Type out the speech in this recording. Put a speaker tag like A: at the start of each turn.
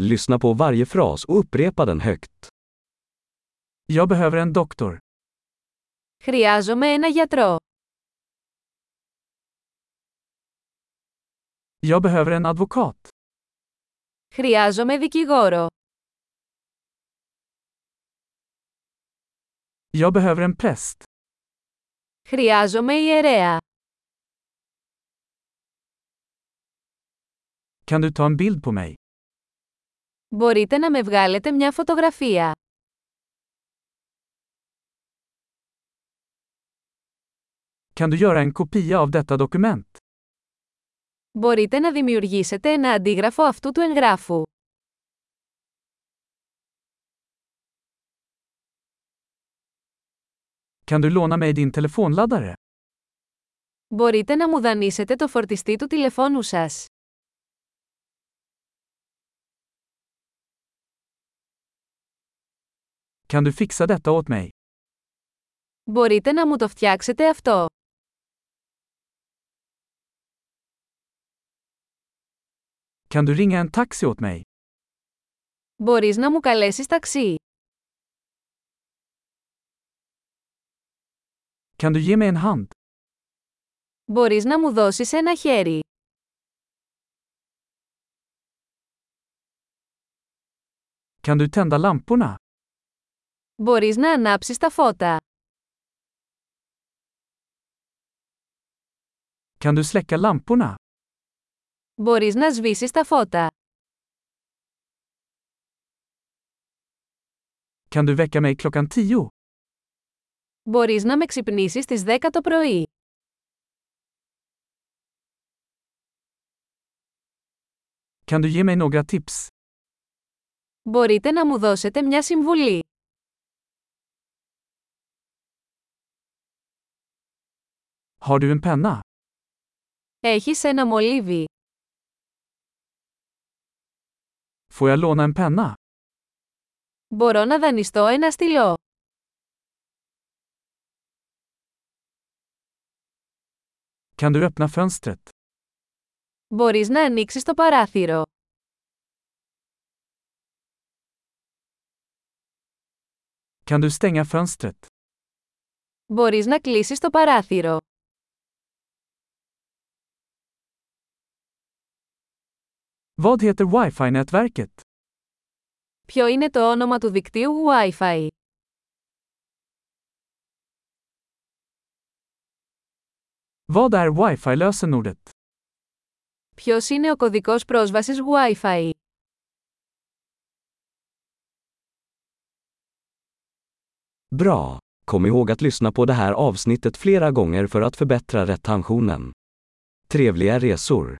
A: Lyssna på varje fras och upprepa den högt.
B: Jag behöver en doktor.
C: Χρειάζομαι ένα γιατρό.
B: Jag behöver en advokat.
C: Χρειάζομαι δικηγόρο.
B: Jag behöver en präst.
C: Χρειάζομαι ιερέα.
B: Kan du ta en bild på mig?
C: Μπορείτε να με βγάλετε μια φωτογραφία.
B: Kan du göra en kopia av detta dokument?
C: Μπορείτε να δημιουργήσετε ένα αντίγραφο αυτού του εγγράφου.
B: Kan du låna mig din telefonladdare?
C: Μπορείτε να μου δανείσετε το φορτιστή του τηλεφώνου σας.
B: Kan du fixa detta åt mig?
C: Μπορείτε να μου το φτιάξετε αυτό.
B: Kan du ringa en taxi åt mig?
C: Μπορείς να μου καλέσεις ταξί.
B: Kan du ge mig en hand?
C: Μπορείς να μου δώσεις ένα χέρι.
B: Kan du tända lamporna?
C: Μπορείς να ανάψεις τα φώτα.
B: Kan du släcka lamporna?
C: Μπορείς να σβήσεις τα φώτα.
B: Kan du väcka mig klockan tio?
C: Μπορείς να με ξυπνήσεις στις 10 το πρωί.
B: Kan du ge mig några tips?
C: Μπορείτε να μου δώσετε μια συμβουλή.
B: Har du en penna?
C: Έχεις ένα μολύβι.
B: Får jag låna en penna?
C: Μπορώ να δανειστώ ένα στυλό.
B: Kan du öppna fönstret?
C: Μπορείς να ανοίξεις το παράθυρο.
B: Kan du stänga fönstret?
C: Μπορείς να κλείσεις το παράθυρο.
B: Vad heter wifi-nätverket?
C: Ποιο είναι το όνομα του δικτύου Wi-Fi.
B: Vad är wifi-lösenordet?
C: Ποιος είναι ο κωδικός πρόσβασης Wi-Fi.
A: Bra! Kom ihåg att lyssna på det här avsnittet flera gånger för att förbättra retentionen. Trevliga resor!